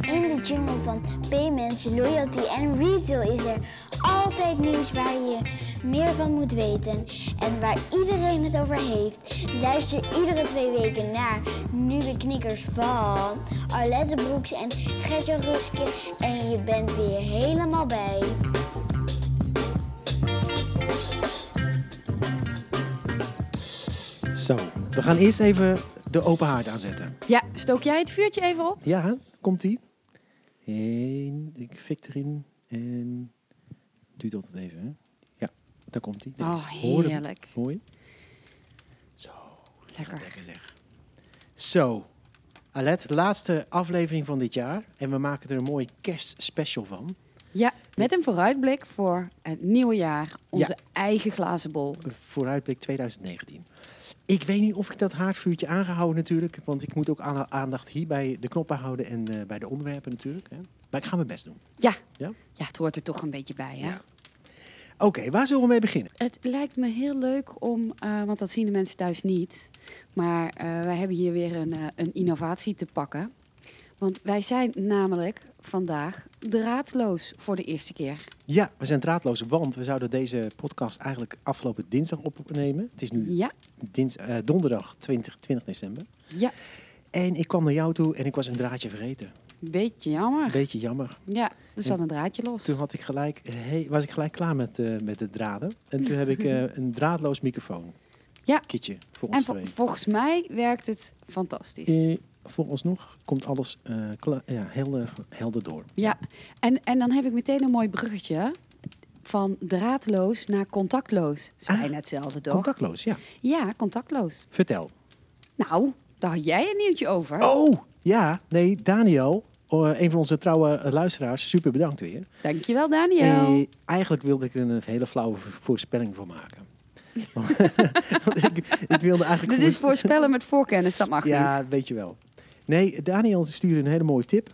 In de jungle van payments, loyalty en retail is er altijd nieuws waar je meer van moet weten en waar iedereen het over heeft. Luister iedere twee weken naar nieuwe knikkers van Arlette Broeks en Gertje Ruske en je bent weer helemaal bij. Zo, we gaan eerst even de open haard aanzetten. Ja, stook jij het vuurtje even op? Ja, komt ie. Eén, ik fik erin en duurt altijd even. Hè? Ja, daar komt ie. Daar is Oh, het. Hoor hem. heerlijk. Hoor je? Zo, Lekker. lekker zeg. Zo, Alet, laatste aflevering van dit jaar. En we maken er een mooie kerstspecial van. Ja, met een vooruitblik voor het nieuwe jaar. Onze Ja. eigen glazen bol. Een vooruitblik 2019. Ik weet niet of ik dat haardvuurtje aangehouden natuurlijk. Want ik moet ook aan- aandacht hier bij de knoppen houden en eh, bij de onderwerpen natuurlijk. Hè? Maar ik ga mijn best doen. Ja. Ja? ja, het hoort er toch een beetje bij, hè? Ja. Oké, waar zullen we mee beginnen? Het lijkt me heel leuk om, eh, want dat zien de mensen thuis niet. Maar eh, wij hebben hier weer een, eh, een innovatie te pakken. Want wij zijn namelijk vandaag draadloos voor de eerste keer. Ja, we zijn draadloos, want we zouden deze podcast eigenlijk afgelopen dinsdag opnemen. Het is nu Ja, dins, eh, donderdag 20, 20 december. ja, En ik kwam naar jou toe en ik was een draadje vergeten. beetje jammer. Beetje jammer. Ja, er zat een draadje los. Toen had ik gelijk, hey, was ik gelijk klaar met, eh, met de draden. En toen heb ik eh, een draadloos microfoon. Ja. Kitje, voor ons En vo- twee. volgens mij werkt het fantastisch. Eh, voor ons nog komt alles eh, kla- ja, helder, helder door. Ja, en, en dan heb ik meteen een mooi bruggetje. Van draadloos naar contactloos. Is Ah, bijna hetzelfde, toch? Contactloos, ja. Ja, contactloos. Vertel. Nou, daar had jij een nieuwtje over. Oh, ja. Nee, Daniel, eh, een van onze trouwe eh, luisteraars. Super bedankt weer. Dankjewel, Daniel. Eh, eigenlijk wilde ik er een hele flauwe vo- voorspelling voor maken. Want ik, ik wilde eigenlijk... Dit is voorspellen met voorkennis, dat mag niet. Eh, Ja, weet je wel. Nee, Daniel stuurde een hele mooie tip.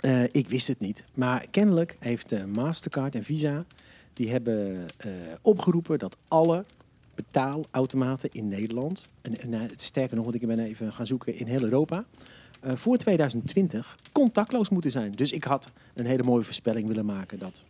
Eh, ik wist het niet. Maar kennelijk heeft eh, Mastercard en Visa... die hebben eh, opgeroepen dat alle betaalautomaten in Nederland... en, en, eh, sterker nog, want ik ben even gaan zoeken in heel Europa... eh, voor 2020 contactloos moeten zijn. Dus ik had een hele mooie voorspelling willen maken... dat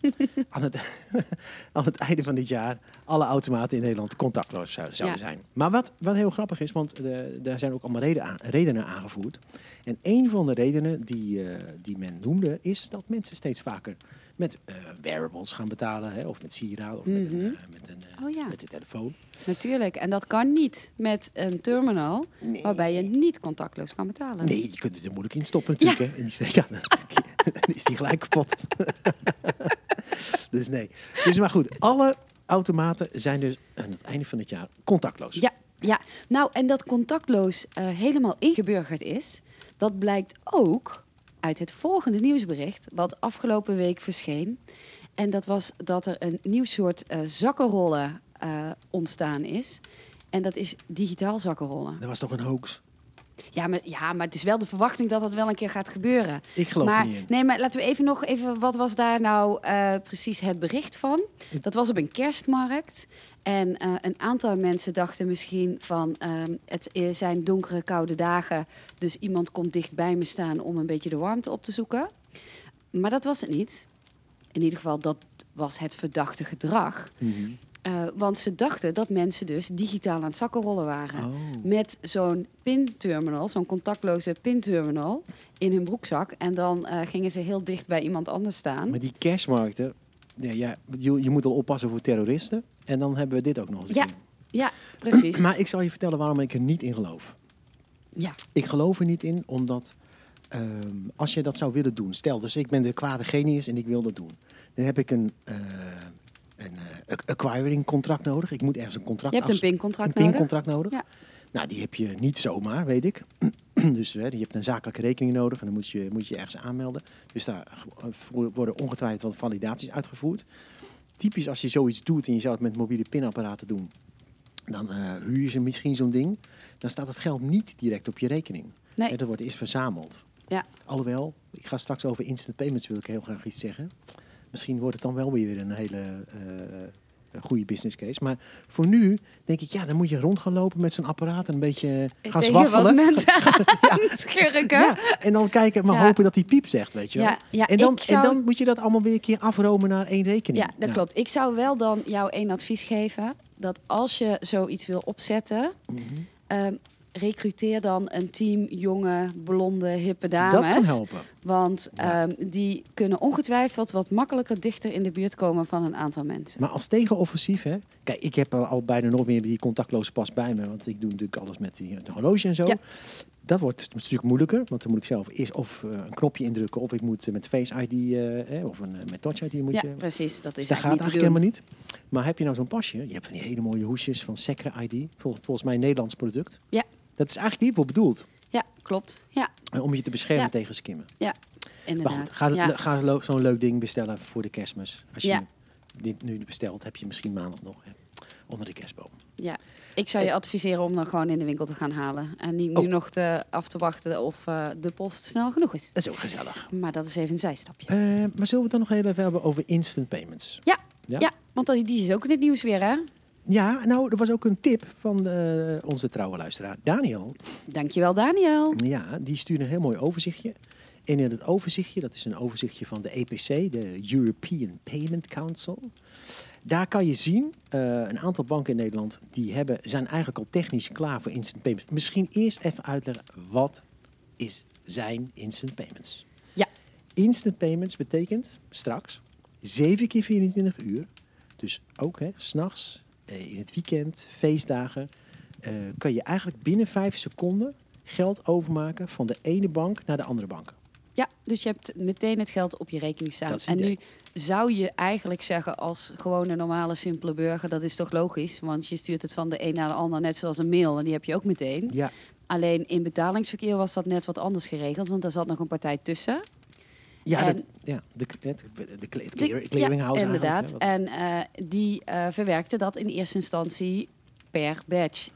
aan het, aan het einde van dit jaar alle automaten in Nederland contactloos zouden, zouden Ja. zijn. Maar wat, wat heel grappig is, want eh, daar zijn ook allemaal reden aan- redenen aangevoerd. En een van de redenen die, eh, die men noemde, is dat mensen steeds vaker met eh, wearables gaan betalen. Hè, of met sieraden, of met, een, Mhm. eh, met, een, eh, Oh ja. met de telefoon. Natuurlijk, en dat kan niet met een terminal waarbij je niet contactloos kan betalen. Nee, je kunt het er moeilijk in stoppen natuurlijk. Hè? En die steekt aan. Dan is die gelijk kapot. dus nee. Dus maar goed, alle automaten zijn dus aan het einde van het jaar contactloos. Ja, ja. nou en dat contactloos eh, helemaal ingeburgerd is, dat blijkt ook uit het volgende nieuwsbericht wat afgelopen week verscheen. En dat was dat er een nieuw soort eh, zakkenrollen eh, ontstaan is. En dat is digitaal zakkenrollen. Dat was toch een hoax? Ja maar, ja, maar het is wel de verwachting dat dat wel een keer gaat gebeuren. Ik geloof maar, er niet in. Nee, maar laten we even nog even... Wat was daar nou eh, precies het bericht van? Dat was op een kerstmarkt. En eh, een aantal mensen dachten misschien van... ehm, het i- zijn donkere, koude dagen. Dus iemand komt dicht bij me staan om een beetje de warmte op te zoeken. Maar dat was het niet. In ieder geval, dat was het verdachte gedrag. Mhm. Eh, want ze dachten dat mensen dus digitaal aan het zakkenrollen waren. Oh. Met zo'n pinterminal, zo'n contactloze pinterminal in hun broekzak. En dan eh, gingen ze heel dicht bij iemand anders staan. Maar die cashmarkten, ja, ja, je, je moet al oppassen voor terroristen. En dan hebben we dit ook nog eens. een Ja, keer. ja, precies. Maar ik zal je vertellen waarom ik er niet in geloof. ja. Ik geloof er niet in, omdat ehm, als je dat zou willen doen, stel, dus ik ben de kwade genius en ik wil dat doen, dan heb ik een, eh, een eh, ac- acquiring contract nodig. Ik moet ergens een contract Je hebt een afs- pincontract een nodig. pincontract nodig. Ja. Nou, die heb je niet zomaar, weet ik. dus hè, je hebt een zakelijke rekening nodig en dan moet je moet je ergens aanmelden. Dus daar ge- voor- worden ongetwijfeld wat validaties uitgevoerd. Typisch als je zoiets doet en je zou het met mobiele pinapparaten doen, dan eh, huur je ze misschien zo'n ding. Dan staat het geld niet direct op je rekening. Nee. Hè, dat wordt eerst verzameld. Ja. Alhoewel, ik ga straks over instant payments wil ik heel graag iets zeggen. Misschien wordt het dan wel weer een hele eh, een goede business case. Maar voor nu denk ik, ja, dan moet je rond gaan lopen met zo'n apparaat en een beetje eh, gaan Tegen wat zwaffelen. mensen. Ja, schurken. Ja, en dan kijken, maar Ja. hopen dat die piep zegt, weet je wel. Ja, ja, en, dan, ik zou- en dan moet je dat allemaal weer een keer afromen naar één rekening. Ja, dat Ja. klopt. Ik zou wel dan jou één advies geven. Dat als je zoiets wil opzetten, Mhm. ehm, recruteer dan een team jonge, blonde, hippe Dat kan dames. helpen. want Ja. ehm, die kunnen ongetwijfeld wat makkelijker dichter in de buurt komen van een aantal mensen. Maar als tegenoffensief, hè? Kijk, ik heb al- al bijna nooit meer die contactloze pas bij me, want ik doe natuurlijk alles met die eh, de horloge en zo. Ja. Dat wordt dus een stuk moeilijker, want dan moet ik zelf eerst of eh, een knopje indrukken, of ik moet eh, met Face ID eh, hè, of een, eh, met Touch ID moet Ja, je. precies. Dat is Dus dat gaat eigenlijk niet eigenlijk te doen. helemaal niet. Maar heb je nou zo'n pasje? Je hebt van die hele mooie hoesjes van Secre ID, vol- volgens mij een Nederlands product. Ja. Dat is eigenlijk hiervoor bedoeld, Ja, klopt. Ja, eh, om je te beschermen Ja. tegen skimmen. inderdaad. Maar goed, ga, ja. le- ga lo- zo'n leuk ding bestellen voor de kerstmis. Als je Ja. dit nu bestelt, heb je misschien maandag nog hè, onder de kerstboom. Ja, ik zou je adviseren om dan gewoon in de winkel te gaan halen. En niet nu Eh. Oh. nog te, af te wachten of eh, de post snel genoeg is. Dat is ook gezellig. Maar dat is even een zijstapje. Eh, maar zullen we het dan nog heel even hebben over instant payments? Ja, Ja? ja? want dat- die is ook in het nieuws weer, hè? Ja, nou, er was ook een tip van eh, onze trouwe luisteraar, Daniel. Dankjewel, Daniel. Ja, die stuurde een heel mooi overzichtje. En in het overzichtje, dat is een overzichtje van de EPC, de European Payment Council. Daar kan je zien, eh, een aantal banken in Nederland die hebben, zijn eigenlijk al technisch klaar voor instant payments. Misschien eerst even uitleggen, wat is, zijn instant payments? Ja. Instant payments betekent straks 7 keer 24 uur. Dus ook hè, s'nachts, eh, in het weekend, feestdagen, eh, kan je eigenlijk binnen 5 seconden geld overmaken van de ene bank naar de andere bank. Ja, dus je hebt meteen het geld op je rekening staan. Dat is het En nu idee. zou je eigenlijk zeggen als gewone normale simpele burger, dat is toch logisch? Want je stuurt het van de een naar de ander, net zoals een mail. En die heb je ook meteen. Ja, Alleen in betalingsverkeer was dat net wat anders geregeld, want daar zat nog een partij tussen. ja, En- dat, ja de, het, de, cle- het De- clear- ja, clearinghouse. inderdaad. eigenlijk, hè, wat- En eh, die eh, verwerkte dat in eerste instantie per badge.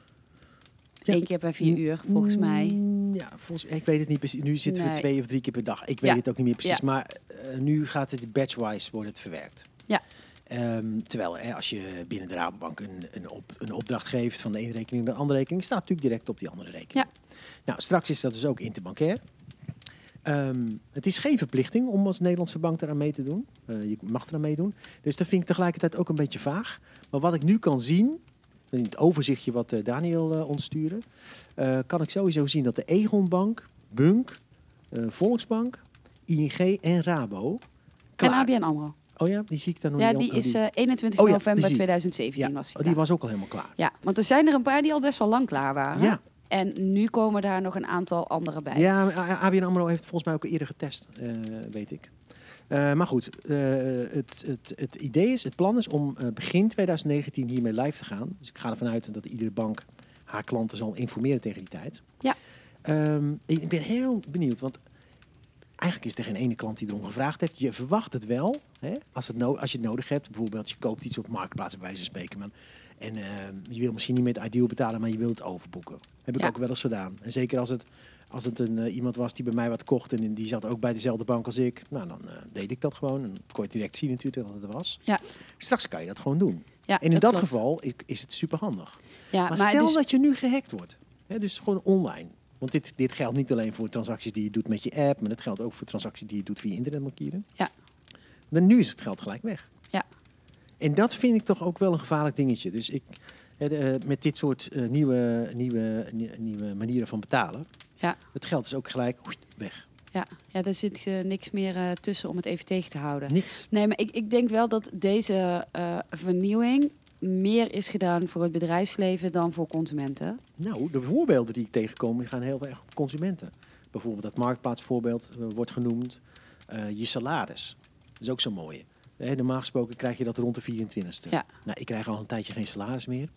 Ja. Eén keer per vier uur, volgens mij. Mm, Ja, volgens, ik weet het niet precies. Nu zitten we Nee. twee of drie keer per dag. Ik weet Ja. het ook niet meer precies. Ja. Maar eh, nu gaat het batchwise wordt het verwerkt. Ja. Ehm, terwijl hè, als je binnen de Rabobank een, een, op, een opdracht geeft van de ene rekening naar de andere rekening, staat het natuurlijk direct op die andere rekening. Nou, straks is dat dus ook interbankair. Ehm, het is geen verplichting om als Nederlandse bank eraan mee te doen. Eh, je mag eraan meedoen. Dus dat vind ik tegelijkertijd ook een beetje vaag. Maar wat ik nu kan zien, in het overzichtje wat eh, Daniel eh, ons stuurde, eh, kan ik sowieso zien dat de Egon Bank, Bunk, eh, Volksbank, ING en Rabo. Klaar. En ABN AMRO. Oh ja, die zie ik dan nog Ja, niet. die Oh, is eh, 21 Oh ja, die november zie ik. 2017 ja, was die. oh, die klaar. was ook al helemaal klaar. Ja, want er zijn er een paar die al best wel lang klaar waren. Ja, En nu komen daar nog een aantal andere bij. ja maar A- ABN AMRO heeft volgens mij ook al eerder getest, eh, weet ik. Eh, maar goed, eh, het, het, het idee is, het plan is om eh, begin 2019 hiermee live te gaan. Dus ik ga ervan uit dat iedere bank haar klanten zal informeren tegen die tijd. Ja. Ehm, ik ik ben heel benieuwd, want eigenlijk is er geen ene klant die erom gevraagd heeft. Je verwacht het wel, hè, als, het no- als je het nodig hebt. Bijvoorbeeld, je koopt iets op Marktplaats, bij wijze van spreken. Maar, en ehm, je wil misschien niet met Ideal betalen, maar je wilt het overboeken. Heb ik Ja. ook wel eens gedaan. En zeker als het, als het een, eh, iemand was die bij mij wat kocht en die zat ook bij dezelfde bank als ik. Nou, dan eh, deed ik dat gewoon. En dan kon je direct zien natuurlijk dat het er was. Ja. Straks kan je dat gewoon doen. Ja, en in dat, klopt. geval i- is het superhandig. Ja, maar, maar stel dus- dat je nu gehackt wordt. Hè, dus gewoon online. Want dit, dit geldt niet alleen voor transacties die je doet met je app, maar dat geldt ook voor transacties die je doet via internetbankieren. Ja. Dan nu is het geld gelijk weg. Ja. En dat vind ik toch ook wel een gevaarlijk dingetje. Dus ik, hè, de, eh, met dit soort eh, nieuwe, nieuwe, nie- nieuwe manieren van betalen, Ja. het geld is ook gelijk oei, weg. ja, ja, er zit eh, niks meer eh, tussen om het even tegen te houden. Niks. Nee, maar ik, ik denk wel dat deze eh, vernieuwing meer is gedaan voor het bedrijfsleven dan voor consumenten. Nou, de voorbeelden die ik tegenkom, die gaan heel erg op consumenten. Bijvoorbeeld dat marktplaatsvoorbeeld eh, wordt genoemd. Eh, je salaris. Dat is ook zo'n mooie. Hè, normaal gesproken krijg je dat rond de 24ste. Ja. Nou, ik krijg al een tijdje geen salaris meer.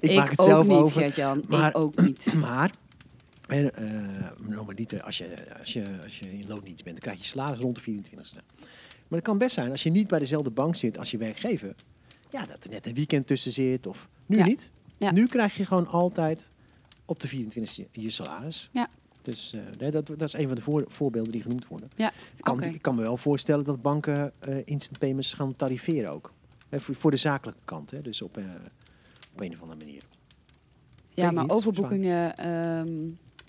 ik, ook niet, Gert-Jan. maar- ik ook niet. Maar, en, eh, nou, maar niet, eh, als, je, als, je, als je in loondienst bent, dan krijg je salaris rond de 24ste. Maar het kan best zijn, als je niet bij dezelfde bank zit als je werkgever, ja, dat er net een weekend tussen zit. Of nu Ja. niet. Ja. Nu krijg je gewoon altijd op de 24ste je salaris. Ja. Dus eh, nee, dat, dat is een van de voor- voorbeelden die genoemd worden. Ja, Ik, kan, oké. ik kan me wel voorstellen dat banken eh, instant payments gaan tariveren ook. Hè, voor, voor de zakelijke kant, hè, dus op, eh, op een of andere manier. Ja, weet maar niet, overboekingen ehm,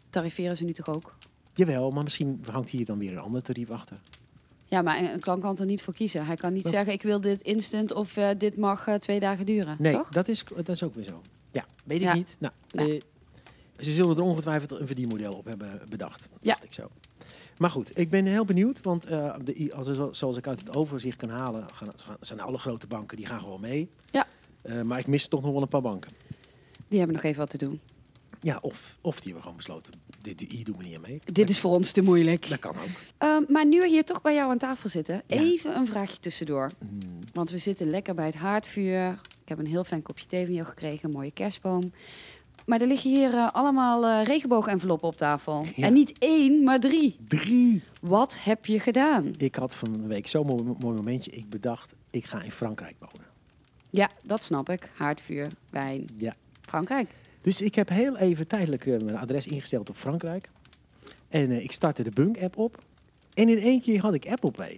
tariveren ze nu toch ook? Jawel, maar misschien hangt hier dan weer een ander tarief achter. Ja, maar een, een klant kan er niet voor kiezen. Hij kan niet Wel- zeggen, ik wil dit instant of eh, dit mag eh, twee dagen duren. Nee, toch? dat is, dat is ook weer zo. Ja, weet ik Ja. niet. Nou, Nou. eh, ze zullen er ongetwijfeld een verdienmodel op hebben bedacht. Ja. dacht ik zo. Maar goed, ik ben heel benieuwd, want eh, de, I- als, zo- zoals ik uit het overzicht kan halen, gaan, gaan- zijn alle grote banken die gaan gewoon mee. Ja. Eh, maar ik mis toch nog wel een paar banken. Die hebben nog even wat te doen. Ja, of, of die hebben gewoon besloten, dit de I doen we niet aan mee. Dit is voor ons te moeilijk. Dat kan ook. Ehm, maar nu we hier toch bij jou aan tafel zitten, Ja. even een vraagje tussendoor. Mm, Want we zitten lekker bij het haardvuur. Ik heb een heel fijn kopje thee van jou gekregen, een mooie kerstboom. Maar er liggen hier eh, allemaal eh regenboog-enveloppen op tafel. Ja. En niet één, maar drie. Drie. Wat heb je gedaan? Ik had van de week zo'n mooi, mooi momentje. Ik bedacht, ik ga in Frankrijk wonen. Ja, dat snap ik. Haardvuur, wijn, Ja, Frankrijk. Dus ik heb heel even tijdelijk eh, mijn adres ingesteld op Frankrijk. En eh, ik startte de Bunk-app op. En in één keer had ik Apple Pay.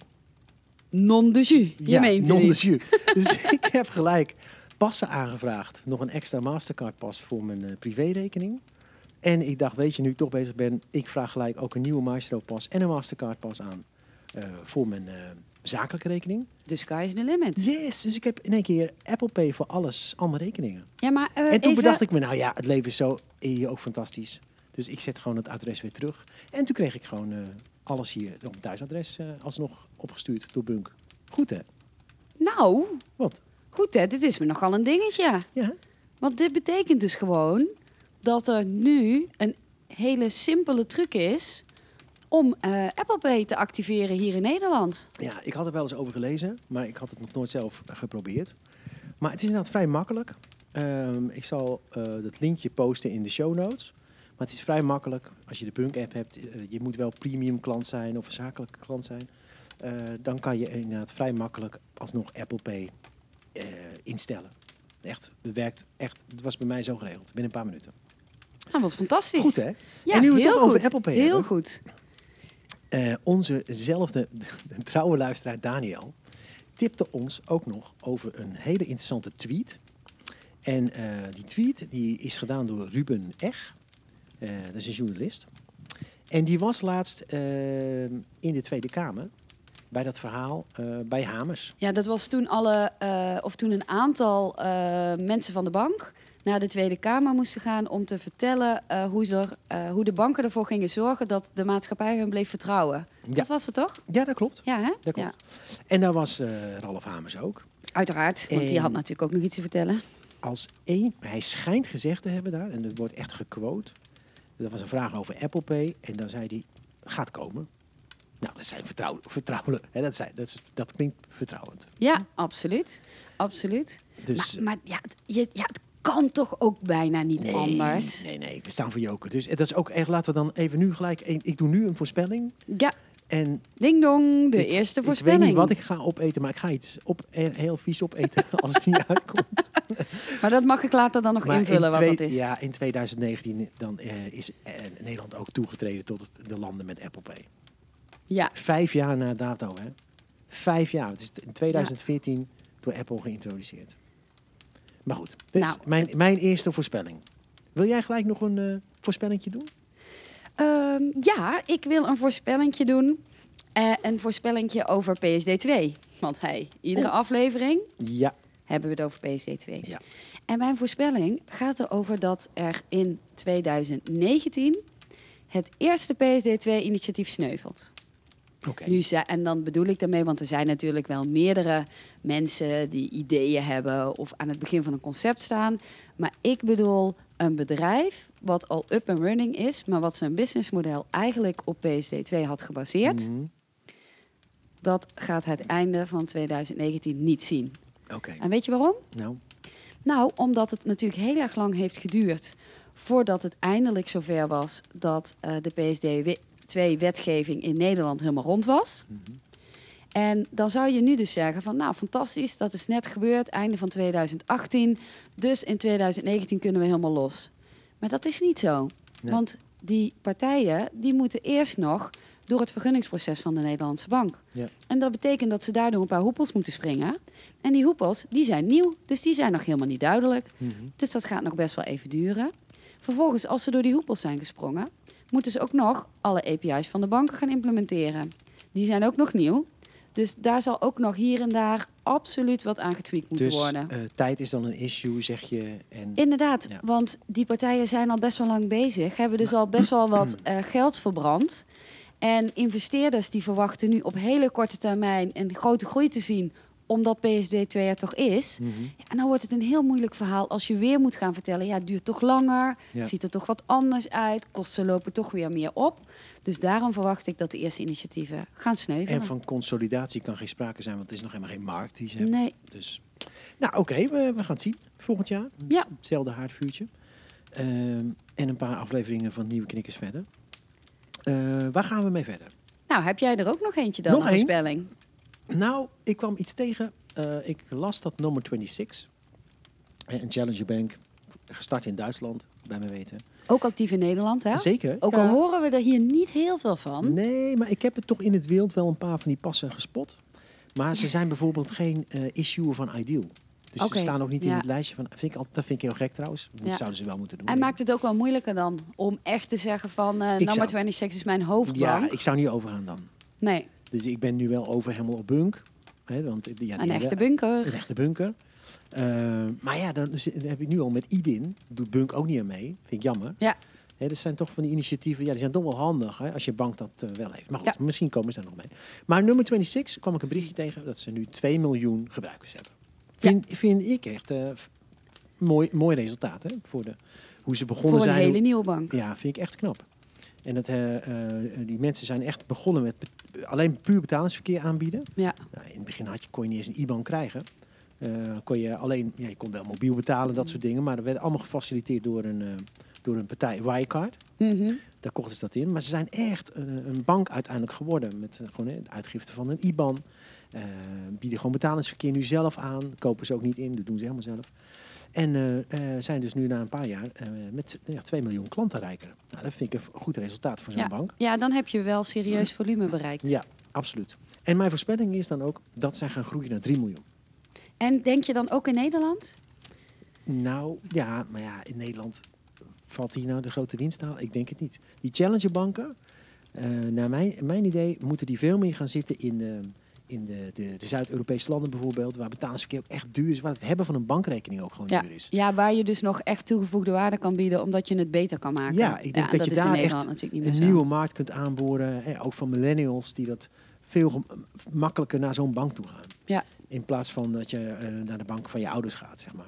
Non de jus. Je meent het non de niet. jus. Dus ik heb gelijk passen aangevraagd. Nog een extra Mastercard-pas voor mijn eh, privérekening. En ik dacht, weet je, nu ik toch bezig ben... ik vraag gelijk ook een nieuwe Maestro-pas en een Mastercard-pas aan... eh, voor mijn eh, zakelijke rekening. The sky is the limit. Yes, dus ik heb in één keer Apple Pay voor alles, al mijn rekeningen. Ja, maar eh, En toen even- bedacht ik me, nou ja, het leven is zo hier ook fantastisch. Dus ik zet gewoon het adres weer terug. En toen kreeg ik gewoon eh, alles hier op mijn thuisadres eh, alsnog opgestuurd door Bunk. Goed hè? Nou, Wat? goed hè, dit is me nogal een dingetje. Ja. hè? Want dit betekent dus gewoon dat er nu een hele simpele truc is om eh, Apple Pay te activeren hier in Nederland. Ja, ik had er wel eens over gelezen, maar ik had het nog nooit zelf geprobeerd. Maar het is inderdaad vrij makkelijk. Ehm, ik zal eh dat linkje posten in de show notes. Maar het is vrij makkelijk als je de Bunk-app hebt. eh, je moet wel premium klant zijn of een zakelijke klant zijn. Eh, dan kan je inderdaad vrij makkelijk alsnog Apple Pay eh, instellen. Echt, het werkt echt. Het was bij mij zo geregeld, binnen een paar minuten. Nou, wat fantastisch. Goed hè? Ja, En nu we het heel toch over goed. Apple Pay Heel hebben. goed. Eh, onzezelfde trouwe luisteraar Daniel tipte ons ook nog over een hele interessante tweet. En eh, die tweet die is gedaan door Ruben Ech. Eh, dat is een journalist. En die was laatst eh, in de Tweede Kamer bij dat verhaal eh, bij Hamers. Ja, dat was toen, alle, eh, of toen een aantal eh, mensen van de bank naar de Tweede Kamer moesten gaan om te vertellen eh, hoe, ze er, eh, hoe de banken ervoor gingen zorgen dat de maatschappij hun bleef vertrouwen. Ja, Dat was het toch? ja dat klopt. Ja, hè? Dat ja. klopt. En daar was eh, Ralf Hamers ook. Uiteraard, want die En- had natuurlijk ook nog iets te vertellen. als één, hij schijnt gezegd te hebben daar, en dat wordt echt gequote. Dat was een vraag over Apple Pay en dan zei hij, gaat komen. Nou, dat zijn vertrouwen, vertrouwelijk, hè, dat, zijn, dat, is- dat klinkt vertrouwend. Ja, absoluut. Absoluut. Dus, maar maar ja, het, je, ja, het kan toch ook bijna niet eh, nee, anders? Nee, nee, we staan voor joker. Dus dat is ook echt, laten we dan even nu gelijk, een- ik doe nu een voorspelling. Ja, En ding dong, de Ik- eerste ik weet voorspelling. niet wat ik ga opeten, maar ik ga iets op, eh, heel vies opeten als het niet uitkomt. Maar dat mag ik later dan nog Maar in invullen twee- wat dat is. Ja, in 2019 dan, eh, is eh, Nederland ook toegetreden tot het- de landen met Apple Pay. Ja, Vijf jaar na dato, hè? Vijf jaar. Het is in 2014 door Apple geïntroduceerd. Maar goed, dit is Nou, mijn, mijn eerste voorspelling. Wil jij gelijk nog een eh voorspellingje doen? Ehm, ja ik wil een voorspellingje doen. Eh, een voorspellingje over PSD 2. Want hey, iedere aflevering Ja. hebben we het over PSD 2. Oh. Ja. En mijn voorspelling gaat erover dat er in 2019 het eerste PSD 2-initiatief sneuvelt. Oké. Nu ze- en dan bedoel ik daarmee, want er zijn natuurlijk wel meerdere mensen die ideeën hebben of aan het begin van een concept staan. Maar ik bedoel een bedrijf wat al up and running is, maar wat zijn businessmodel eigenlijk op PSD2 had gebaseerd. Mhm. Dat gaat het einde van 2019 niet zien. Oké. En weet je waarom? Nou, Nou, omdat het natuurlijk heel erg lang heeft geduurd voordat het eindelijk zover was dat eh, de PSD2-wetgeving in Nederland helemaal rond was. mhm. En dan zou je nu dus zeggen van, nou fantastisch, dat is net gebeurd, einde van 2018. Dus in 2019 kunnen we helemaal los. Maar dat is niet zo. Nee. Want die partijen, die moeten eerst nog door het vergunningsproces van de Nederlandse bank. Ja. En dat betekent dat ze daardoor een paar hoepels moeten springen. En die hoepels, die zijn nieuw, dus die zijn nog helemaal niet duidelijk. Mhm. Dus dat gaat nog best wel even duren. Vervolgens, als ze door die hoepels zijn gesprongen, moeten ze ook nog alle API's van de banken gaan implementeren. Die zijn ook nog nieuw. Dus daar zal ook nog hier en daar absoluut wat aan getweakt moeten Dus worden. eh, tijd is dan een issue, zeg je. En Inderdaad, Ja. want die partijen zijn al best wel lang bezig, hebben dus al best wel wat eh, geld verbrand. En investeerders die verwachten nu op hele korte termijn een grote groei te zien, omdat PSD 2 er toch is. Mhm. Ja, en dan wordt het een heel moeilijk verhaal als je weer moet gaan vertellen, ja, het duurt toch langer, Ja. ziet er toch wat anders uit, kosten lopen toch weer meer op. Dus daarom verwacht ik dat de eerste initiatieven gaan sneuvelen. En van consolidatie kan geen sprake zijn, want er is nog helemaal geen markt die ze hebben. Nee, Dus, nou oké, we, we gaan het zien volgend jaar. Ja. Hetzelfde haardvuurtje. Ehm, en een paar afleveringen van Nieuwe Knikkers verder. Eh, waar gaan we mee verder? nou heb jij er ook nog eentje dan, Nog een één? voorspelling? Nou, ik kwam iets tegen. Eh, ik las dat nummer 26. eh, Een challenger bank. Gestart in Duitsland, bij mijn weten. Ook actief in Nederland, hè? Zeker. Ook Ja. al horen we er hier niet heel veel van. Nee, maar ik heb het toch in het wild wel een paar van die passen gespot. Maar ze zijn bijvoorbeeld geen eh issuer van Ideal. Dus Oké, ze staan ook niet in ja. het lijstje van. Vind ik, al- dat vind ik heel gek trouwens. Dat Ja. zouden ze wel moeten doen. Hij maakt het ook wel moeilijker dan om echt te zeggen van eh Ik number zou- 26 is mijn hoofdbank. Ja, ik zou niet overgaan dan. Nee, Dus ik ben nu wel over helemaal op bunk. Hè, want eh, ja, die een hebben- echte bunker. Een echte bunker. Eh, maar ja, dan, zit- dan heb ik nu al met IDIN. Doet bunk ook niet aan mee. Vind ik jammer. Ja. Hè, dat zijn toch van die initiatieven. Ja, die zijn toch wel handig hè, als je bank dat eh, wel heeft. Maar goed, Ja. misschien komen ze daar nog mee. Maar nummer 26 kwam ik een berichtje tegen dat ze nu 2 miljoen gebruikers hebben. Vind, vind ik echt eh, f- mooi, mooi resultaat hè, voor de, hoe ze begonnen Voor een zijn. hoe- hele nieuwe bank. ja, vind ik echt knap. En dat, eh, eh, die mensen zijn echt begonnen met bet- alleen puur betalingsverkeer aanbieden. Ja. Nou, in het begin had je, kon je niet eens een IBAN krijgen. Eh, kon je alleen, ja, je kon wel mobiel betalen, dat soort dingen. Maar dat werd allemaal gefaciliteerd door een, eh, door een partij, Wirecard. Mhm. Daar kochten ze dat in. Maar ze zijn echt eh, een bank uiteindelijk geworden. Met eh, gewoon eh, de uitgifte van een IBAN. Eh, bieden gewoon betalingsverkeer nu zelf aan. Kopen ze ook niet in, dat doen ze helemaal zelf. En eh, eh, zijn dus nu na een paar jaar eh, met eh, 2 miljoen klanten rijker. Nou, dat vind ik een goed resultaat voor zo'n bank. ja, dan heb je wel serieus volume bereikt. Ja, absoluut. En mijn voorspelling is dan ook dat zij gaan groeien naar 3 miljoen. En denk je dan ook in Nederland? Nou, ja, maar ja, in Nederland valt hier nou de grote winst te halen? Ik denk het niet. Die challengerbanken, eh naar mijn, mijn idee, moeten die veel meer gaan zitten in, eh, in de, de, de Zuid-Europese landen bijvoorbeeld, waar betalingsverkeer ook echt duur is, waar het hebben van een bankrekening ook gewoon Ja. duur is. ja, waar je dus nog echt toegevoegde waarde kan bieden, omdat je het beter kan maken. Ja, ik denk dat en je is in daar Nederland echt natuurlijk niet meer Een zo. nieuwe markt kunt aanboren, hè, ook van millennials die dat veel gem- makkelijker naar zo'n bank toe gaan. Ja. In plaats van dat je eh, naar de bank van je ouders gaat, zeg maar.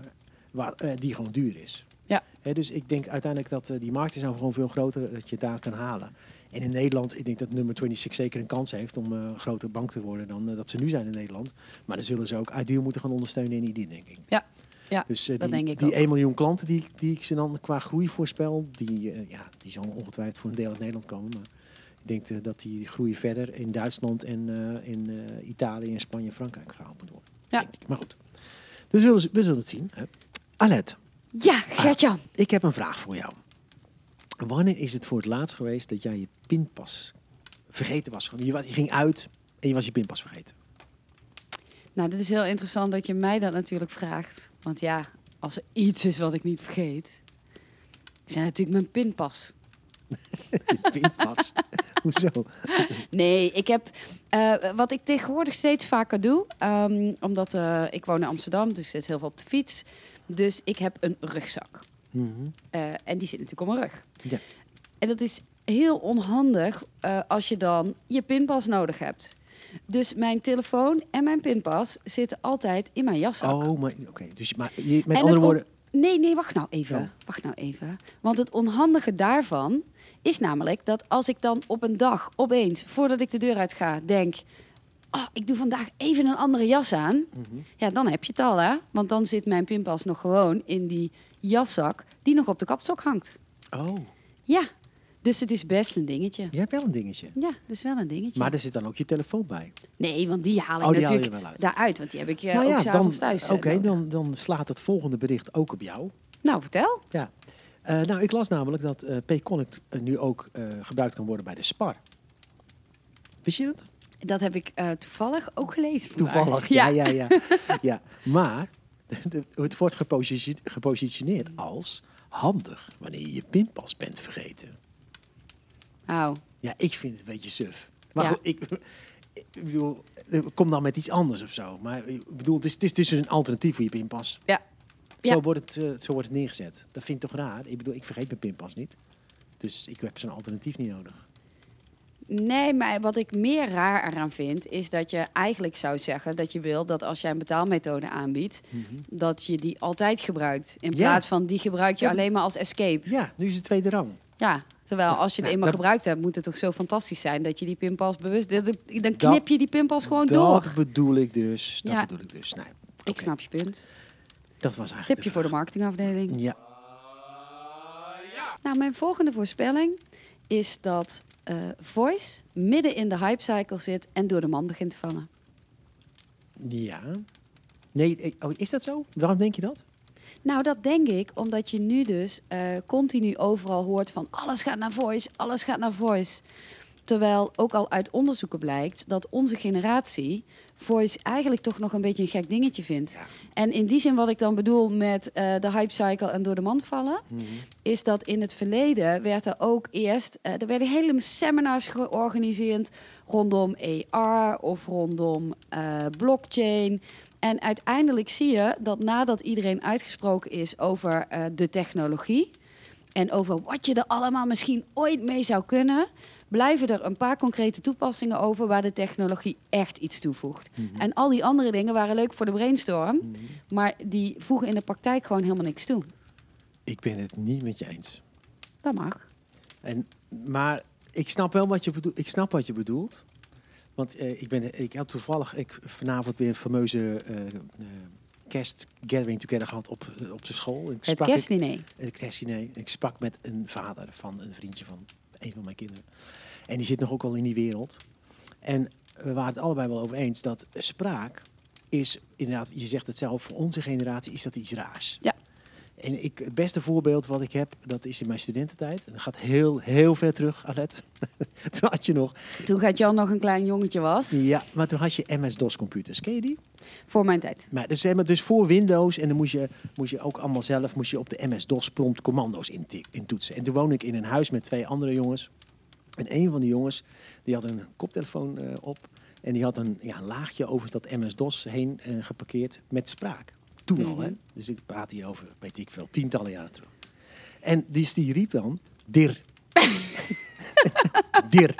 Waar, eh, die gewoon duur is. Ja. Hè, dus ik denk uiteindelijk dat eh, die markt is nou gewoon veel groter dat je het daar kan halen. En in Nederland, ik denk dat nummer 26 zeker een kans heeft om eh, een grote bank te worden dan eh, dat ze nu zijn in Nederland. Maar dan zullen ze ook ideal moeten gaan ondersteunen in IDIN, denk ik. Ja. Ja, dus eh, dat die, denk ik die ook. 1 miljoen klanten die, ik- die ik ze dan qua groei voorspel, die, eh, ja, die zal ongetwijfeld voor een deel uit Nederland komen. Maar ik denk eh, dat die groei verder in Duitsland en eh, in eh, Italië en Spanje en Frankrijk gehaald moet worden. Ja. denk ik. Maar goed, Dus we zullen, we zullen het zien. Hè. Alet, Ja, Ah. Gertjan. ik heb een vraag voor jou. Wanneer is het voor het laatst geweest dat jij je pinpas vergeten was? Je, wa- je ging uit en je was je pinpas vergeten. Nou, dit is heel interessant dat je mij dat natuurlijk vraagt. Want ja, als er iets is wat ik niet vergeet, zijn natuurlijk mijn pinpas. Je pinpas. Hoezo? Nee, ik heb eh, wat ik tegenwoordig steeds vaker doe, ehm, omdat eh, ik woon in Amsterdam, dus zit heel veel op de fiets. Dus ik heb een rugzak. Mhm. Eh, en die zit natuurlijk op mijn rug. Ja. En dat is heel onhandig eh, als je dan je pinpas nodig hebt. Dus mijn telefoon en mijn pinpas zitten altijd in mijn jaszak. Oh, maar oké. Dus, je- maar je, met En andere het on- woorden, Nee, nee, wacht nou even. Oh. Wacht nou even. Want het onhandige daarvan is namelijk dat als ik dan op een dag opeens, voordat ik de deur uit ga, denk. Oh, ik doe vandaag even een andere jas aan. Mhm. Ja, dan heb je het al, hè? Want dan zit mijn pinpas nog gewoon in die jaszak die nog op de kapstok hangt. Oh, Ja, dus het is best een dingetje. je hebt wel een dingetje. Ja, dat is wel een dingetje. Maar er zit dan ook je telefoon bij. Nee, want die haal ik Oh, die haal je natuurlijk wel uit. daaruit. Want die heb ik eh, Nou ook dan, s'avonds thuis. eh, Oké, nodig. dan, dan slaat het volgende bericht ook op jou. Nou, vertel. Ja. Eh, nou, ik las namelijk dat eh Payconnect eh, nu ook eh, gebruikt kan worden bij de SPAR. Wist je dat? Dat heb ik eh, toevallig ook gelezen. vandaag. Toevallig. Ja, ja, ja. ja. Maar de- het wordt gepositie- gepositioneerd als handig wanneer je je pinpas bent vergeten. Oh, Ja, ik vind het een beetje suf. Maar Ja. goed, ik, ik bedoel, eh, kom dan met iets anders of zo. Maar ik bedoel, het is, het is, het is een alternatief voor je pinpas. Ja. Zo, Ja. Wordt het, eh, zo wordt het neergezet. Dat vind ik toch raar? Ik bedoel, ik vergeet mijn pinpas niet. Dus ik heb zo'n alternatief niet nodig. Nee, maar wat ik meer raar eraan vind, is dat je eigenlijk zou zeggen dat je wil dat als jij een betaalmethode aanbiedt, dat je die altijd gebruikt. In Mhm. Ja. plaats van die gebruik je Ja. alleen maar als escape. Ja, nu is het tweede rang. Ja, terwijl als je het Nou, eenmaal dat- gebruikt hebt, moet het toch zo fantastisch zijn dat je die pinpas bewust. Dan dan Dat- knip je die pinpas gewoon dat door. bedoel ik dus. Dat Ja. bedoel ik dus. Nou, Ik oké. snap je punt. Dat was eigenlijk Tipje voor de marketingafdeling. vraag. Ja. Nou, mijn volgende voorspelling is dat eh, Voice midden in de hypecycle zit en door de man begint te vallen. Ja. Nee, eh, oh, is dat zo? Waarom denk je dat? Nou, dat denk ik, omdat je nu dus eh, continu overal hoort van alles gaat naar voice, alles gaat naar voice. Terwijl ook al uit onderzoeken blijkt dat onze generatie voice eigenlijk toch nog een beetje een gek dingetje vindt. Ja. En in die zin wat ik dan bedoel met eh, de hype cycle en door de man vallen, is dat in het verleden werd er ook eerst, eh, er werden hele seminars georganiseerd rondom AR of rondom eh, blockchain. En uiteindelijk zie je dat nadat iedereen uitgesproken is over eh, de technologie en over wat je er allemaal misschien ooit mee zou kunnen, blijven er een paar concrete toepassingen over waar de technologie echt iets toevoegt. En al die andere dingen waren leuk voor de brainstorm, maar die voegen in de praktijk gewoon helemaal niks toe. Ik ben het niet met je eens. Dat mag. En, maar ik snap wel wat je bedoelt. Ik snap wat je bedoelt. Want eh, ik, ben, ik had toevallig ik, vanavond weer een fameuze eh eh, kerstgathering together gehad op, eh, op de school. Ik Het sprak- ik- kerstdiner. het kerstdiner. Ik sprak met een vader van een vriendje van een van mijn kinderen. En die zit nog ook al in die wereld. En we waren het allebei wel over eens dat spraak is, inderdaad, je zegt het zelf, voor onze generatie is dat iets raars. Ja. En ik, het beste voorbeeld wat ik heb, dat is in mijn studententijd. En dat gaat heel, heel ver terug, Alet. Toen had je nog... Toen gaat Jan nog een klein jongetje was, Ja, maar toen had je MS-DOS-computers. Ken je die? voor mijn tijd. Maar dus, zeg maar, dus voor Windows, en dan moest je, moest je ook allemaal zelf moest je op de MS-DOS-prompt commando's inti- intoetsen. En toen woonde ik in een huis met twee andere jongens. En een van die jongens, die had een koptelefoon eh, op. En die had een, ja, een laagje over dat MS-DOS heen eh, geparkeerd met spraak. Toen al, Mhm. hè. Dus ik praat hier over, weet ik veel, tientallen jaren terug. En dus die riep dan, dir. dir.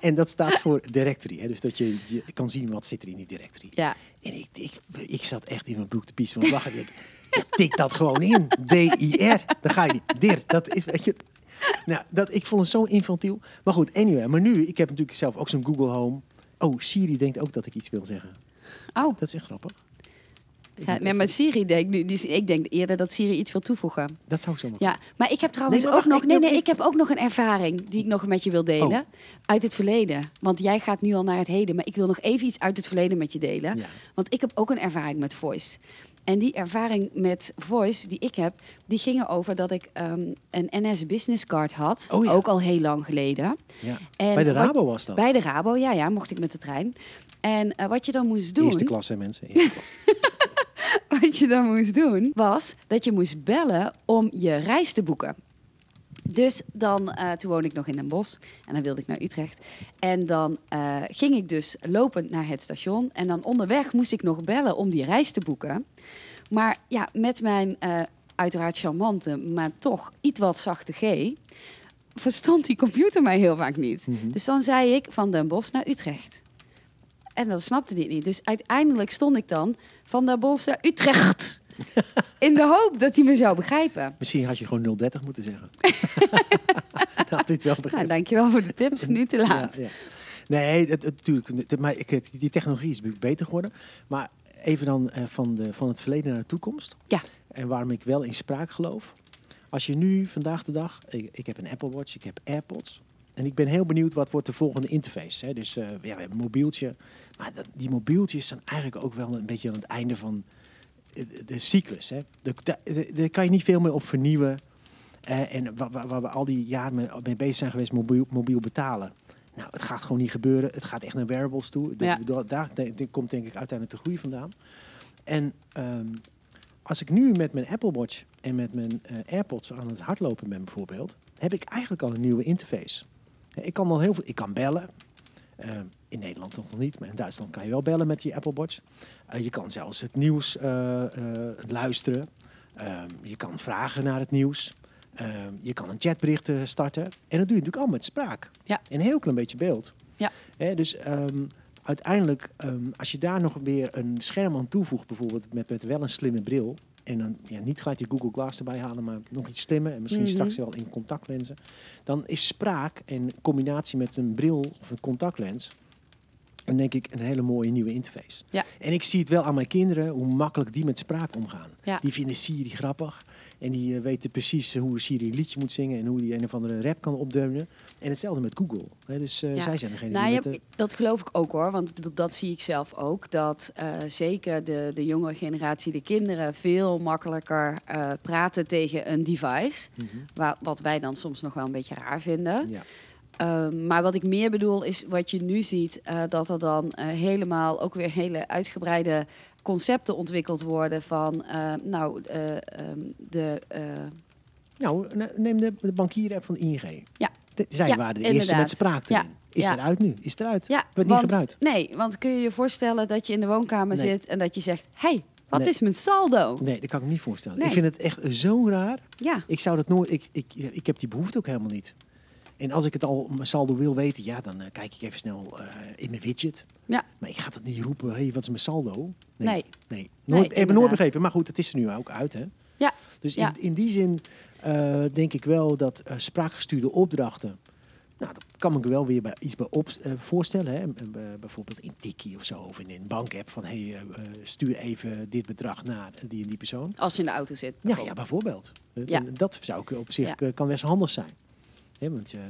En dat staat voor directory. Hè? Dus dat je, je kan zien wat zit er in die directory. Ja. En ik, ik, ik zat echt in mijn broek te pissen van het lachen. Ik, ja, tik dat gewoon in. D-I-R. Dan ga je niet. Dir. Dat is, weet je. Nou, dat, ik vond het zo infantiel. Maar goed, anyway. Maar nu, ik heb natuurlijk zelf ook zo'n Google Home. Oh, Siri denkt ook dat ik iets wil zeggen. Oh, Dat is echt grappig. ja, maar met Siri denk ik nu. die- Ik denk eerder dat Siri iets wil toevoegen. Dat zou ik zo maar Ja, maar ik heb trouwens maar ook wacht, nog. ik Nee, wil Oh. nee, ik even- heb ook nog een ervaring die ik nog met je wil delen. Uit het verleden. Want jij gaat nu al naar het heden. Maar ik wil nog even iets uit het verleden met je delen. Ja. Want ik heb ook een ervaring met voice. En die ervaring met voice die ik heb, die ging erover dat ik ehm, een NS Business Card had. Oh ja. Ook al heel lang geleden. Ja. En Bij de wat- Rabo was dat. Bij de Rabo, ja, ja, mocht ik met de trein. En eh, wat je dan moest doen Eerste klas, hè mensen? Eerste klas. wat je dan moest doen, was dat je moest bellen om je reis te boeken. Dus dan, eh, toen woonde ik nog in Den Bosch en dan wilde ik naar Utrecht. En dan eh, ging ik dus lopend naar het station. En dan onderweg moest ik nog bellen om die reis te boeken. Maar ja, met mijn eh, uiteraard charmante, maar toch iets wat zachte G... verstond die computer mij heel vaak niet. Mhm. Dus dan zei ik van Den Bosch naar Utrecht. En dat snapte die niet. Dus uiteindelijk stond ik dan van Den Bosch naar Utrecht. In de hoop dat hij me zou begrijpen. Misschien had je gewoon 030 moeten zeggen. dat had dit wel Nou, begrepen. dankjewel voor de tips. Nu te laat. Ja, ja. Nee, het- het- natuurlijk. het- maar ik- het- die technologie is beter geworden. Maar even dan eh, van, de, van het verleden naar de toekomst. Ja. En waarom ik wel in spraak geloof. Als je nu, vandaag de dag, ik, ik heb een Apple Watch, ik heb AirPods. En ik ben heel benieuwd wat wordt de volgende interface. Hè? Dus eh, ja, we hebben een mobieltje. Maar dat, die mobieltjes zijn eigenlijk ook wel een beetje aan het einde van eh, de, de cyclus. Hè? De- de- de- Daar kan je niet veel meer op vernieuwen. Eh, en waar, waar, waar we al die jaren mee, mee bezig zijn geweest, mobiel, mobiel betalen. Nou, het gaat gewoon niet gebeuren. Het gaat echt naar wearables toe. De- Ja. da- daar de- de- komt denk ik uiteindelijk de groei vandaan. En ehm, als ik nu met mijn Apple Watch en met mijn eh, AirPods aan het hardlopen ben bijvoorbeeld, heb ik eigenlijk al een nieuwe interface. Ik kan al heel veel. Ik kan bellen. Eh, in Nederland nog niet, maar in Duitsland kan je wel bellen met je Apple Watch. Eh, je kan zelfs het nieuws eh, eh, luisteren. Eh, je kan vragen naar het nieuws. Eh, je kan een chatbericht eh, starten. En dat doe je natuurlijk allemaal met spraak. Ja. En een heel klein beetje beeld. Ja. Hè, dus ehm, uiteindelijk, ehm, als je daar nog weer een scherm aan toevoegt, bijvoorbeeld met, met wel een slimme bril. En dan ja, niet gelijk je Google Glass erbij halen, maar nog iets slimmer. En misschien Mhm. straks wel in contactlenzen. Dan is spraak in combinatie met een bril of een contactlens. Dan denk ik een hele mooie nieuwe interface. Ja. En ik zie het wel aan mijn kinderen hoe makkelijk die met spraak omgaan. Ja. Die vinden Siri grappig. En die eh, weten precies eh, hoe Siri een liedje moet zingen en hoe die een of andere rap kan opdeunen. En hetzelfde met Google. Hè, dus eh, Ja. zij zijn degene Nou, die je- met, eh, dat geloof ik ook hoor, want ik bedoel, dat zie ik zelf ook. Dat eh, zeker de, de jongere generatie, de kinderen, veel makkelijker eh, praten tegen een device. Mhm. Wa- wat wij dan soms nog wel een beetje raar vinden. Ja. Ehm, maar wat ik meer bedoel is wat je nu ziet, eh, dat er dan eh, helemaal ook weer hele uitgebreide concepten ontwikkeld worden van, eh, nou, eh, ehm, de, eh, Nou, ne- neem de, de bankier-app van ING. Ja. De- zij Ja, waren de eerste inderdaad. met spraak erin. Ja, Is ja. eruit nu? Is eruit? ja, Wordt niet want- gebruikt. nee, want kun je je voorstellen dat je in de woonkamer Nee. zit en dat je zegt, hey, wat Nee. is mijn saldo? Nee, dat kan ik me niet voorstellen. Nee. Ik vind het echt zo raar. Ja, Ik zou dat nooit. Ik, ik, ik heb die behoefte ook helemaal niet. En als ik het al mijn saldo wil weten, ja, dan eh, kijk ik even snel eh, in mijn widget. Ja. Maar ik ga dat niet roepen, hey, wat is mijn saldo? nee. Nee, nooit, heb ik nooit inderdaad. begrepen. Maar goed, het is er nu ook uit, hè? Ja, Dus ja. In, in die zin eh, denk ik wel dat eh, spraakgestuurde opdrachten... Nou, dat kan ik wel weer bij, iets bij op, eh, voorstellen. Hè? Eh, bij- Bijvoorbeeld in Tiki of zo, of in een bankapp. Van, hey, eh, eh, stuur even dit bedrag naar die en die persoon. Nou als je in de auto zit. Ja, ja bijvoorbeeld. Eh, Ja. en Dat zou ik op zich, Ja. eh, kan best handig zijn. Hè, want, eh,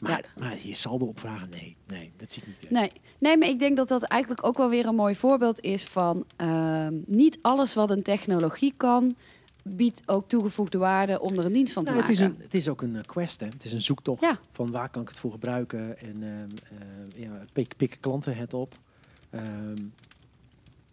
maar, Ja. maar je saldo opvragen, nee, nee, dat zie ik niet. eh. Nee. nee, maar ik denk dat dat eigenlijk ook wel weer een mooi voorbeeld is van ehm, niet alles wat een technologie kan, biedt ook toegevoegde waarde om er een dienst van te Nou, het, maken. is een, het is ook een eh, quest, hè. Het is een zoektocht Ja. van waar kan ik het voor gebruiken. En ehm, eh, ja, pik, pikken klanten het op. Ehm,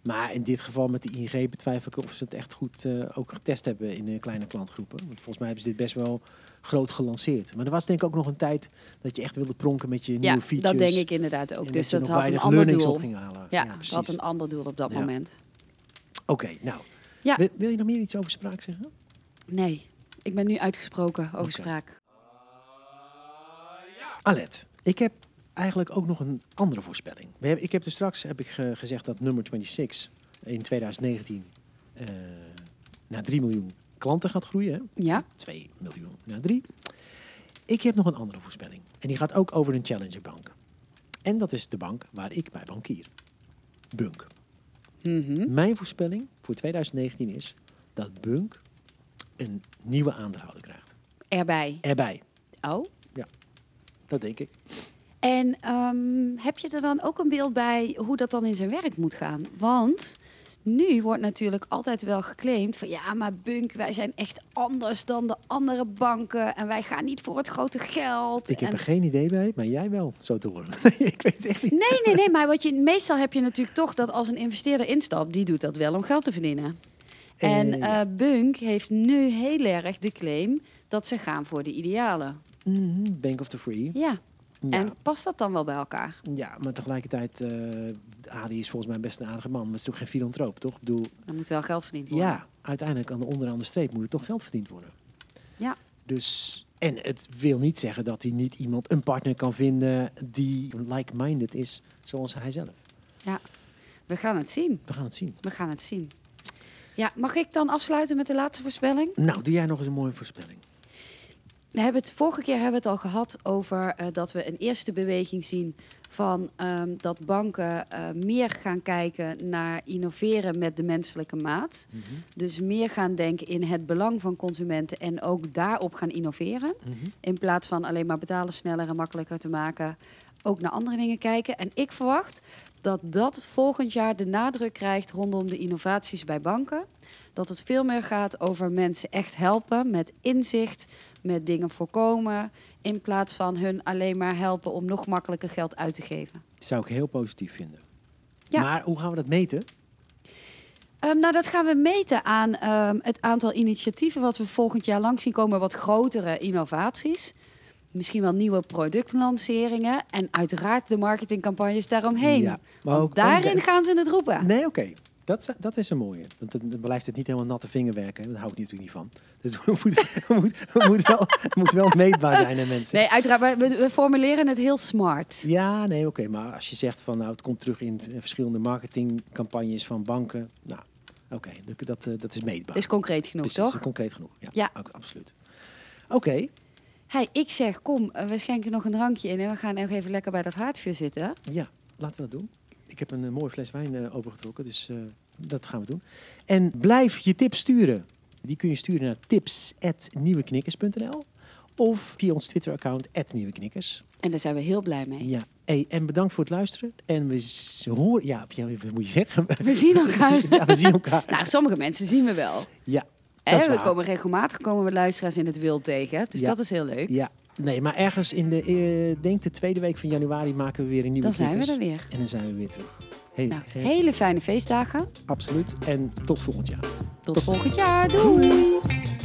maar in dit geval met de ING betwijfel ik of ze het echt goed eh, ook getest hebben in eh, kleine klantgroepen. Want volgens mij hebben ze dit best wel groot gelanceerd. Maar er was denk ik ook nog een tijd dat je echt wilde pronken met je ja, nieuwe features. dat denk ik inderdaad ook. En dus je dat nog had een weinig ander learnings doel. op ging halen. ja, precies. dat had een ander doel op dat Ja. moment. Oké, nou. Ja. Wil, wil je nog meer iets over spraak zeggen? Nee, ik ben nu uitgesproken over Oké. spraak. Alet, ik heb eigenlijk ook nog een andere voorspelling. We hebben, ik heb dus straks heb ik ge- gezegd dat nummer 26 in 2019 eh, naar 3 miljoen klanten gaat groeien. hè? Ja, 2 miljoen naar 3. Ik heb nog een andere voorspelling. En die gaat ook over een challengerbank. En dat is de bank waar ik bij bankier. Bunk. Mhm. Mijn voorspelling voor 2019 is dat Bunk een nieuwe aandeelhouder krijgt. erbij. Erbij. Oh. Dat denk ik. En ehm, heb je er dan ook een beeld bij hoe dat dan in zijn werk moet gaan? Want nu wordt natuurlijk altijd wel geclaimd van ja, maar Bunk, wij zijn echt anders dan de andere banken en wij gaan niet voor het grote geld. Ik heb en... er geen idee bij, maar jij wel, zo te horen. ik weet het echt niet. Nee, nee, nee, maar wat je, meestal heb je natuurlijk toch dat als een investeerder instapt, die doet dat wel om geld te verdienen. Eh, En ja. eh, Bunk heeft nu heel erg de claim dat ze gaan voor de idealen. Mhm, Bank of the Free. Ja, Ja, mm-hmm. en past dat dan wel bij elkaar? ja maar tegelijkertijd, eh Adi is volgens mij best een aardige man. Maar het is toch geen filantroop, toch? Ik bedoel, Er moet wel geld verdiend worden. ja, uiteindelijk aan de onderaan de streep moet er toch geld verdiend worden. Ja. Dus, en het wil niet zeggen dat hij niet iemand, een partner kan vinden die like-minded is zoals hij zelf. We gaan het zien. We gaan het zien. We gaan het zien. Ja, mag ik dan afsluiten met de laatste voorspelling? Nou, doe jij nog eens een mooie voorspelling. We hebben het, vorige keer hebben we het al gehad over eh, dat we een eerste beweging zien van ehm, dat banken eh, meer gaan kijken naar innoveren met de menselijke maat. Mhm, Dus meer gaan denken in het belang van consumenten en ook daarop gaan innoveren. mhm. In plaats van alleen maar betalen sneller en makkelijker te maken, ook naar andere dingen kijken. En ik verwacht dat dat volgend jaar de nadruk krijgt rondom de innovaties bij banken. Dat het veel meer gaat over mensen echt helpen met inzicht, met dingen voorkomen, in plaats van hun alleen maar helpen om nog makkelijker geld uit te geven. Zou ik heel positief vinden. Ja. Maar hoe gaan we dat meten? Ehm, nou, dat gaan we meten aan ehm, het aantal initiatieven wat we volgend jaar lang zien komen, wat grotere innovaties. misschien wel nieuwe productlanceringen en uiteraard de marketingcampagnes daaromheen. Ja, maar Want ook- daarin ook- gaan ze het roepen. Nee, oké. Dat, is- dat is een mooie. Want dan dan blijft het niet helemaal natte vingerwerken. hè. Daar hou ik natuurlijk niet van. Dus we moeten we moet, we moet wel, het moet wel meetbaar zijn aan mensen. Nee, uiteraard. maar We, we formuleren het heel smart. Ja, nee, oké. Maar als je zegt van nou, het komt terug in eh, verschillende marketingcampagnes van banken. Nou, oké, dat, dat, eh, dat is meetbaar. Het is concreet genoeg, Precies, toch? concreet genoeg. Ja, Ja. ook absoluut. Oké, Hey, ik zeg, kom, eh, we schenken nog een drankje in en we gaan nog even lekker bij dat haardvuur zitten. ja, laten we dat doen. Ik heb een eh, mooie fles wijn eh, opengetrokken, dus eh, dat gaan we doen. En blijf je tips sturen. Die kun je sturen naar tips.nieuweknikkers.nl of via ons Twitter-account, nieuweknikkers. En daar zijn we heel blij mee. Ja. Hey, en bedankt voor het luisteren. En we s- horen... Ja, ja, wat moet je zeggen? We zien elkaar. ja, we zien elkaar. Nou, sommige mensen zien we wel. Ja, dat Hè, is we waar. komen regelmatig komen we luisteraars in het wild tegen. Dus Ja. dat is heel leuk. Ja, nee, maar ergens in de, eh, denk de tweede week van januari maken we weer een nieuwe Dan zijn we knikkers. er weer. En dan zijn we weer terug. Hey, Nou, hey, hele fijne feestdagen. Absoluut. En tot volgend jaar. Tot, Tot- volgend jaar. Doei.